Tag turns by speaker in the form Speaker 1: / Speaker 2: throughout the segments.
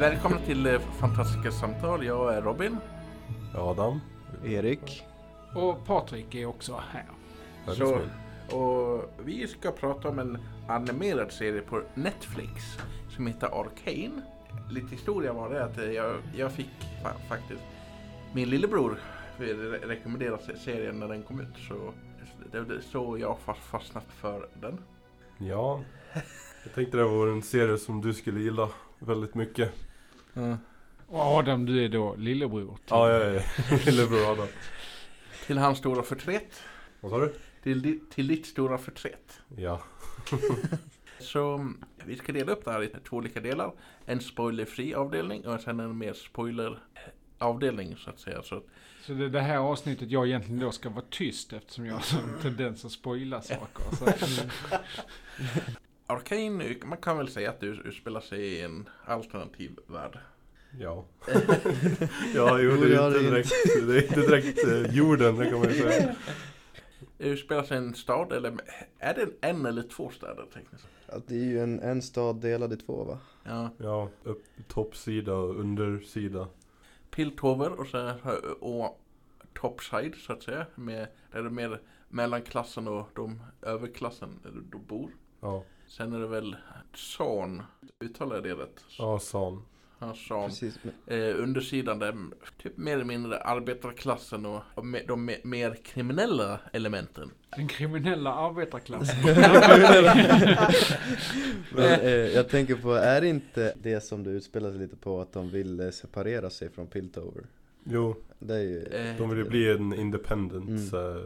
Speaker 1: Välkomna till eh, Fantastiska Samtal. Jag är Robin.
Speaker 2: Adam.
Speaker 3: Erik.
Speaker 4: Och Patrik är också här.
Speaker 1: Så, och vi ska prata om en animerad serie på Netflix som heter Arcane. Lite historia var det att eh, jag, jag fick fa- faktiskt min lillebror re- rekommendera se- serien när den kom ut. Så det var så jag fas- fastnade för den.
Speaker 2: Ja. Jag tänkte det var en serie som du skulle gilla väldigt mycket.
Speaker 4: Och Adam, du är då lillebror. till-
Speaker 2: Ja, jag är lillebror Adam.
Speaker 1: Till hans stora förtret.
Speaker 2: Vad sa du?
Speaker 1: Till, di- till ditt stora förtret.
Speaker 2: Ja.
Speaker 1: Så mm, vi ska dela upp det här i två olika delar. En spoilerfri avdelning och sen en mer spoileravdelning så att säga. Så att,
Speaker 4: Så det är det här avsnittet jag egentligen då ska vara tyst eftersom jag har en tendens att spoila saker. Så.
Speaker 1: Arcane, man kan väl säga att det utspelar sig i en alternativ värld.
Speaker 2: Ja. ja, jo, det är
Speaker 3: Gör
Speaker 2: inte
Speaker 3: det
Speaker 2: direkt, det är inte direkt eh, jorden, det kan man ju säga.
Speaker 1: Det utspelar sig i en stad, eller eh, är det en eller två städer tekniskt sett?
Speaker 3: Att det är ju en, en stad delad i två va?
Speaker 1: Ja,
Speaker 2: Ja, upp, toppsida och undersida.
Speaker 1: Piltover och så här, eh, och Topside så att säga. Med, där det är mer mellanklassen och de överklassen eh, de bor.
Speaker 2: Ja,
Speaker 1: Sen är det väl San, uttalar jag det rätt?
Speaker 2: ja san.
Speaker 1: Ja, San.
Speaker 3: Precis. Men,
Speaker 1: eh, undersidan där m- typ mer eller mindre arbetarklassen och, och me, de me, mer kriminella elementen.
Speaker 4: Den kriminella arbetarklassen.
Speaker 3: men, eh, jag tänker på, är det inte det som det utspelar sig lite på att de vill eh, separera sig från Piltover?
Speaker 2: Jo,
Speaker 3: Det är ju,
Speaker 1: Eh,
Speaker 2: de vill ju bli en independent eh,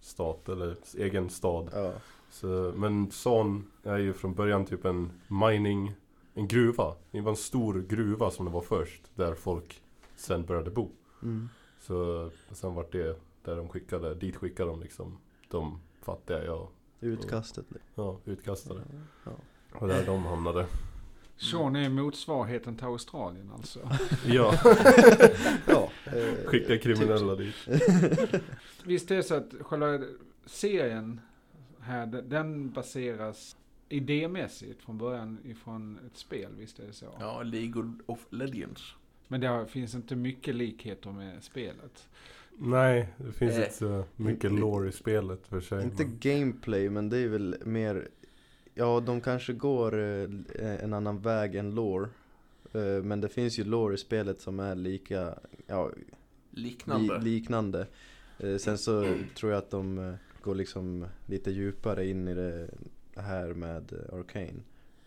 Speaker 2: stat, eller s- egen stad.
Speaker 3: ja.
Speaker 2: Så, men Son är ju från början typ en mining, en gruva. Det var en stor gruva som det var först, där folk sen började bo.
Speaker 3: Mm.
Speaker 2: Så sen vart det där de skickade, dit skickade de liksom de fattiga, ja,
Speaker 3: Utkastet. nu.
Speaker 2: ja utkastade.
Speaker 3: Ja.
Speaker 2: Och där de hamnade.
Speaker 4: Sean är motsvarigheten till Australien alltså.
Speaker 2: Ja,
Speaker 3: Ja. eh,
Speaker 2: skicka kriminella dit.
Speaker 4: Visst är det så att själva serien här, den- den baseras idémässigt från början ifrån ett spel, visst är det så?
Speaker 1: ja, League of Legends.
Speaker 4: Men det finns inte mycket likheter med spelet.
Speaker 2: Nej, det finns
Speaker 1: Eh,
Speaker 2: inte så mycket lore i spelet för sig.
Speaker 3: Inte
Speaker 2: men-
Speaker 3: gameplay men det är väl mer Ja de kanske går eh, en annan väg än lore Eh, Men det finns ju lore i spelet som är lika ja,
Speaker 1: Liknande.
Speaker 3: li, liknande Eh, Sen så tror jag att de eh, går liksom lite djupare in i det här med eh, Arcane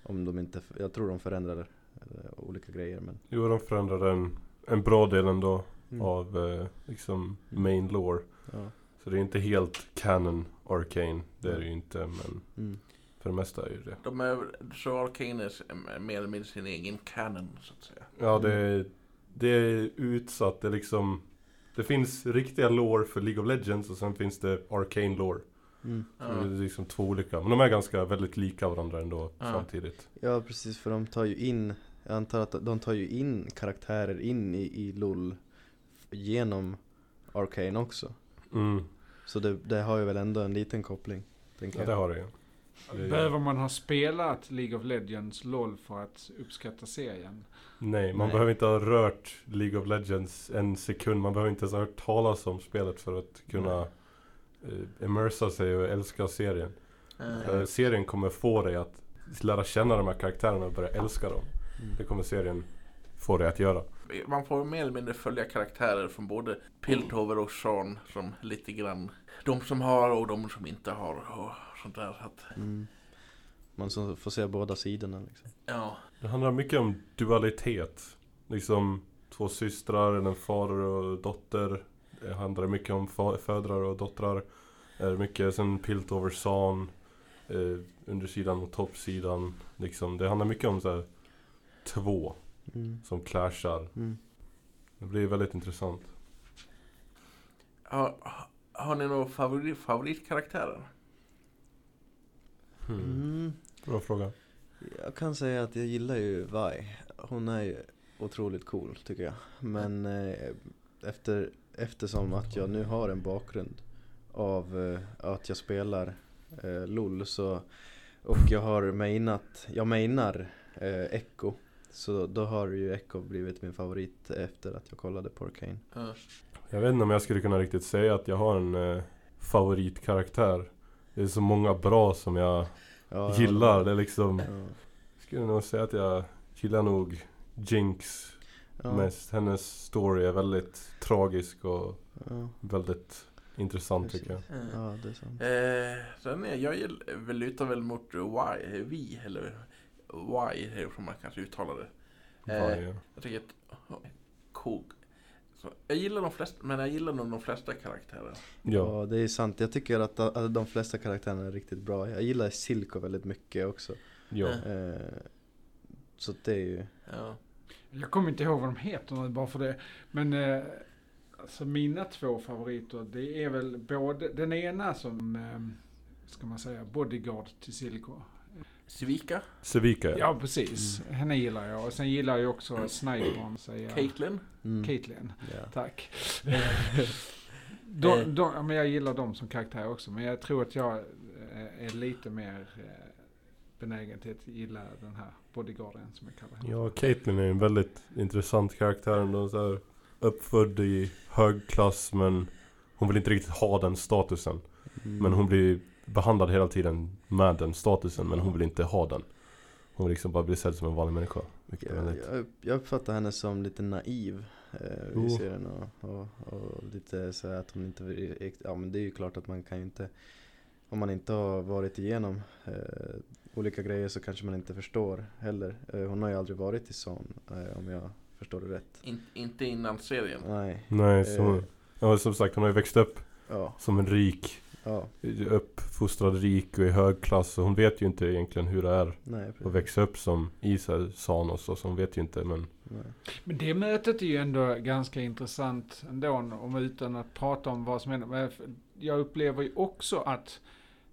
Speaker 3: Om de inte, jag tror de förändrar eh, olika grejer men
Speaker 2: Jo, de förändrade en, en bra del ändå
Speaker 3: Mm.
Speaker 2: av eh, liksom main lore.
Speaker 3: ja,
Speaker 2: Så det är inte helt canon arcane, det är det ju inte, men
Speaker 3: mm.
Speaker 2: för det mesta är ju det.
Speaker 1: De är, så Arcane är s- mer eller mindre sin egen canon så att säga.
Speaker 2: Ja, det
Speaker 1: Mm.
Speaker 2: är, det är utsatt, det är liksom... Det finns riktiga lore för League of Legends och sen finns det arcane lore.
Speaker 3: Mm.
Speaker 2: Så
Speaker 1: Ja.
Speaker 2: det är liksom två olika, men de är ganska väldigt lika varandra ändå
Speaker 1: Ja.
Speaker 2: samtidigt.
Speaker 3: Ja precis för de tar ju in Jag antar att de tar ju in karaktärer in i, i LOL Genom Arcane också
Speaker 2: Mm,
Speaker 3: Så det, det har ju väl ändå en liten koppling
Speaker 2: ja,
Speaker 3: Tänker
Speaker 2: det
Speaker 3: jag
Speaker 2: har det ju. Det är-
Speaker 4: Behöver man ha spelat League of Legends, LOL, för att uppskatta serien?
Speaker 2: Nej, man
Speaker 1: Nej.
Speaker 2: behöver inte ha rört League of Legends en sekund. Man behöver inte ens ha hört talas om spelet för att kunna eh, immersa sig och älska serien.
Speaker 1: Eh,
Speaker 2: För serien kommer få dig att lära känna de här karaktärerna och börja älska dem.
Speaker 3: Mm.
Speaker 2: Det kommer serien få dig att göra.
Speaker 1: Man får mer eller mindre följa karaktärer från både Piltover och Sean som lite grann de som har och de som inte har och sånt där. Så Att,
Speaker 3: mm. Man så får se båda sidorna liksom
Speaker 1: ja.
Speaker 2: Det handlar mycket om dualitet. Liksom två systrar, eller en far och dotter. Det handlar mycket om fa- födrar och dottrar. Eh, Mycket sen Piltover San. Eh, undersidan och toppsidan. Liksom, det handlar mycket om så här, två
Speaker 3: mm.
Speaker 2: som clashar.
Speaker 3: Mm.
Speaker 2: Det blir väldigt intressant.
Speaker 1: har, har ni några favorit, favoritkaraktärer?
Speaker 3: Mm.
Speaker 2: Bra fråga.
Speaker 3: Jag kan säga att jag gillar ju Vi Hon är ju otroligt cool tycker jag Men eh, efter, eftersom att jag nu har en bakgrund Av eh, att jag spelar eh, LOL så Och jag har mainat Jag mainar eh, Echo Så då har ju Echo blivit min favorit efter att jag kollade på Arcane.
Speaker 1: Ja.
Speaker 2: Jag vet inte om jag skulle kunna riktigt säga att jag har en eh, favoritkaraktär. Det är så många bra som jag
Speaker 3: Ja, jag
Speaker 2: gillar.
Speaker 3: håller
Speaker 2: Det är liksom...
Speaker 3: med. Ja.
Speaker 2: Skulle nog säga att jag gillar nog Jinx
Speaker 3: Ja.
Speaker 2: mest. Hennes story är väldigt tragisk och
Speaker 3: Ja.
Speaker 2: väldigt intressant tycker jag.
Speaker 1: Mm.
Speaker 3: ja, det är sant.
Speaker 1: Eh, sen är jag gill- väl lutar väl mot why, vi eller why är det som man kanske uttalar det. Eh.
Speaker 2: Varje.
Speaker 1: Jag tycker att cool. Så, jag gillar de flesta, men jag gillar nog de flesta karaktärer.
Speaker 2: Ja.
Speaker 3: Ja, det är sant. Jag tycker att de, att de flesta karaktärerna är riktigt bra. Jag gillar Silco väldigt mycket också.
Speaker 2: Ja.
Speaker 1: Eh.
Speaker 3: Eh, så det är ju...
Speaker 1: Ja.
Speaker 4: Jag kommer inte ihåg vad de heter nu, bara för det. Men eh, alltså mina två favoriter det är väl både den ena som eh, ska man säga bodyguard till Silko.
Speaker 1: Svika,
Speaker 2: Sevika.
Speaker 4: Ja precis,
Speaker 2: Mm.
Speaker 4: henne gillar jag. Och sen gillar jag också snipern säger jag.
Speaker 1: Caitlyn.
Speaker 3: Mm.
Speaker 4: Caitlyn.
Speaker 3: Ja.
Speaker 4: Tack.
Speaker 1: Eh, Eh.
Speaker 4: De, de, ja, men jag gillar dem som karaktär också, men jag tror att jag eh, är lite mer eh, benägen till att gilla den här bodyguarden som jag kallar henne.
Speaker 2: Ja, Caitlyn är en väldigt intressant karaktär ändå. Så här, uppfödd i hög klass men hon vill inte riktigt ha den statusen.
Speaker 3: Mm.
Speaker 2: Men hon blir behandlad hela tiden med den statusen men hon vill inte ha den. Hon vill liksom bara bli sedd som en vanlig människa. Vilket är
Speaker 3: jag,
Speaker 2: väldigt...
Speaker 3: Mm. jag, jag uppfattar henne som lite naiv eh,
Speaker 2: Jo.
Speaker 3: i serien och, och, och lite så här att hon inte vill- Ja men det är ju klart att man kan ju inte Om man inte har varit igenom eh, olika grejer så kanske man inte förstår heller. Eh, hon har ju aldrig varit i sån eh, om jag förstår det rätt.
Speaker 1: In, inte innan serien.
Speaker 2: Mm.
Speaker 3: Nej.
Speaker 2: Nej, så...
Speaker 3: Eh,
Speaker 2: Ja, som sagt hon har ju växt upp
Speaker 3: ja,
Speaker 2: som en rik,
Speaker 3: ja,
Speaker 2: uppfostrad rik och i hög klass. Så hon vet ju inte egentligen hur det är
Speaker 3: nej.
Speaker 2: att växa upp som Isar Sanos och så hon vet ju inte men...
Speaker 3: nej.
Speaker 4: Men det mötet är ju ändå ganska intressant ändå, om utan att prata om vad som händer. Men jag- Jag upplever ju också att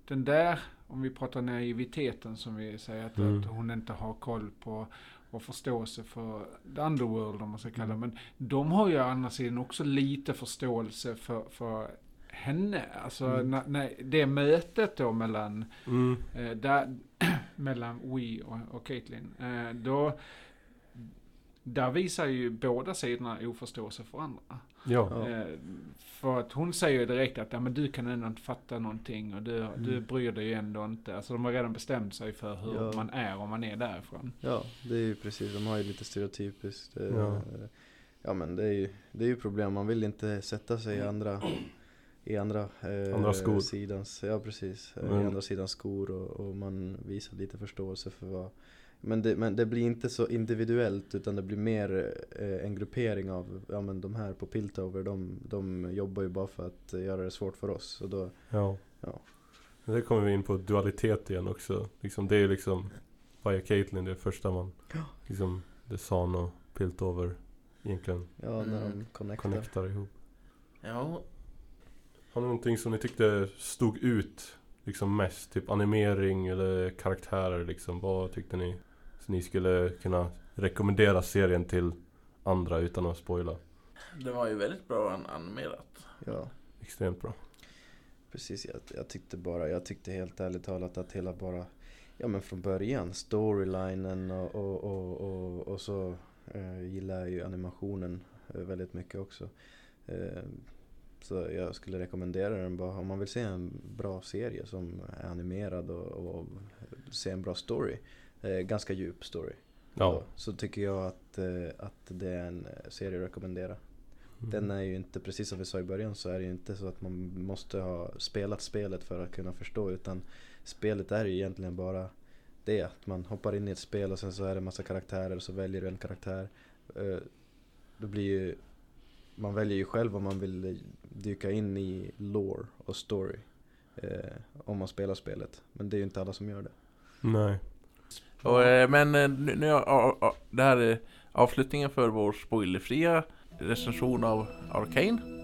Speaker 4: den där, om vi pratar naiviteten som vi säger att,
Speaker 2: Mm.
Speaker 4: att hon inte har koll på och förståelse för the underworld om man ska kalla det. Men de har ju å andra sidan också lite förståelse för, för henne. Alltså
Speaker 3: Mm.
Speaker 4: när, när det mötet då mellan
Speaker 2: Mm.
Speaker 4: Eh, där, mellan We och, och Caitlyn. Eh, då, där visar ju båda sidorna oförståelse för andra.
Speaker 2: Ja.
Speaker 3: Ja.
Speaker 4: Eh, för att hon säger ju direkt att ja, men du kan ändå inte fatta någonting och du, du
Speaker 3: Mm.
Speaker 4: bryr dig ju ändå inte. Alltså de har redan bestämt sig för hur
Speaker 3: Ja.
Speaker 4: man är om man är därifrån.
Speaker 3: Ja, det är ju precis. De har ju lite stereotypiskt. eh,
Speaker 2: Ja.
Speaker 3: ja men det är ju, det är ju problem. Man vill inte sätta sig i andra i andra, eh,
Speaker 2: Andra skor.
Speaker 3: sidans, ja precis, eh,
Speaker 2: Men-
Speaker 3: i andra sidans skor och, och man visar lite förståelse för vad men det, men det blir inte så individuellt utan det blir mer eh, en gruppering av, ja men de här på Piltover de, de jobbar ju bara för att eh, göra det svårt för oss och då,
Speaker 2: Ja.
Speaker 3: Ja.
Speaker 2: Men Där kommer vi in på dualitet igen också. Liksom, det är ju liksom Via Caitlyn, det är första man liksom det Sano pilt över egentligen
Speaker 3: ja när
Speaker 1: Mm.
Speaker 3: de connectar.
Speaker 2: connectar ihop.
Speaker 1: Ja,
Speaker 2: Har ni någonting som ni tyckte stod ut liksom mest? Typ animering eller karaktärer liksom. Vad tyckte ni? Så ni skulle kunna rekommendera serien till andra utan att spoila.
Speaker 1: det var ju väldigt bra an- animerat.
Speaker 3: Ja.
Speaker 2: Extremt bra.
Speaker 3: Precis, jag, jag tyckte bara, jag tyckte helt ärligt talat att hela bara, ja men från början, storylinen och, och, och, och, och så eh, gillar jag ju animationen eh, väldigt mycket också. Eh, så jag skulle rekommendera den bara, om man vill se en bra serie som är animerad och, och se en bra story, eh, ganska djup story,
Speaker 2: Ja.
Speaker 3: så, så tycker jag att, eh, att det är en serie att rekommendera.
Speaker 2: Mm.
Speaker 3: Den är ju inte, precis som vi sa i början, så är det ju inte så att man måste ha spelat spelet för att kunna förstå. Utan spelet är ju egentligen bara det, att man hoppar in i ett spel och sen så är det massa karaktärer och så väljer du en karaktär. Eh, Då blir ju, man väljer ju själv om man vill dyka in i lore och story. eh, Om man spelar spelet. Men det är ju inte alla som gör det.
Speaker 2: Nej.
Speaker 1: Och, eh, men eh, nu, nu ja, ja, ja, det här är avslutningen för vår spoilerfria recension av Arcane.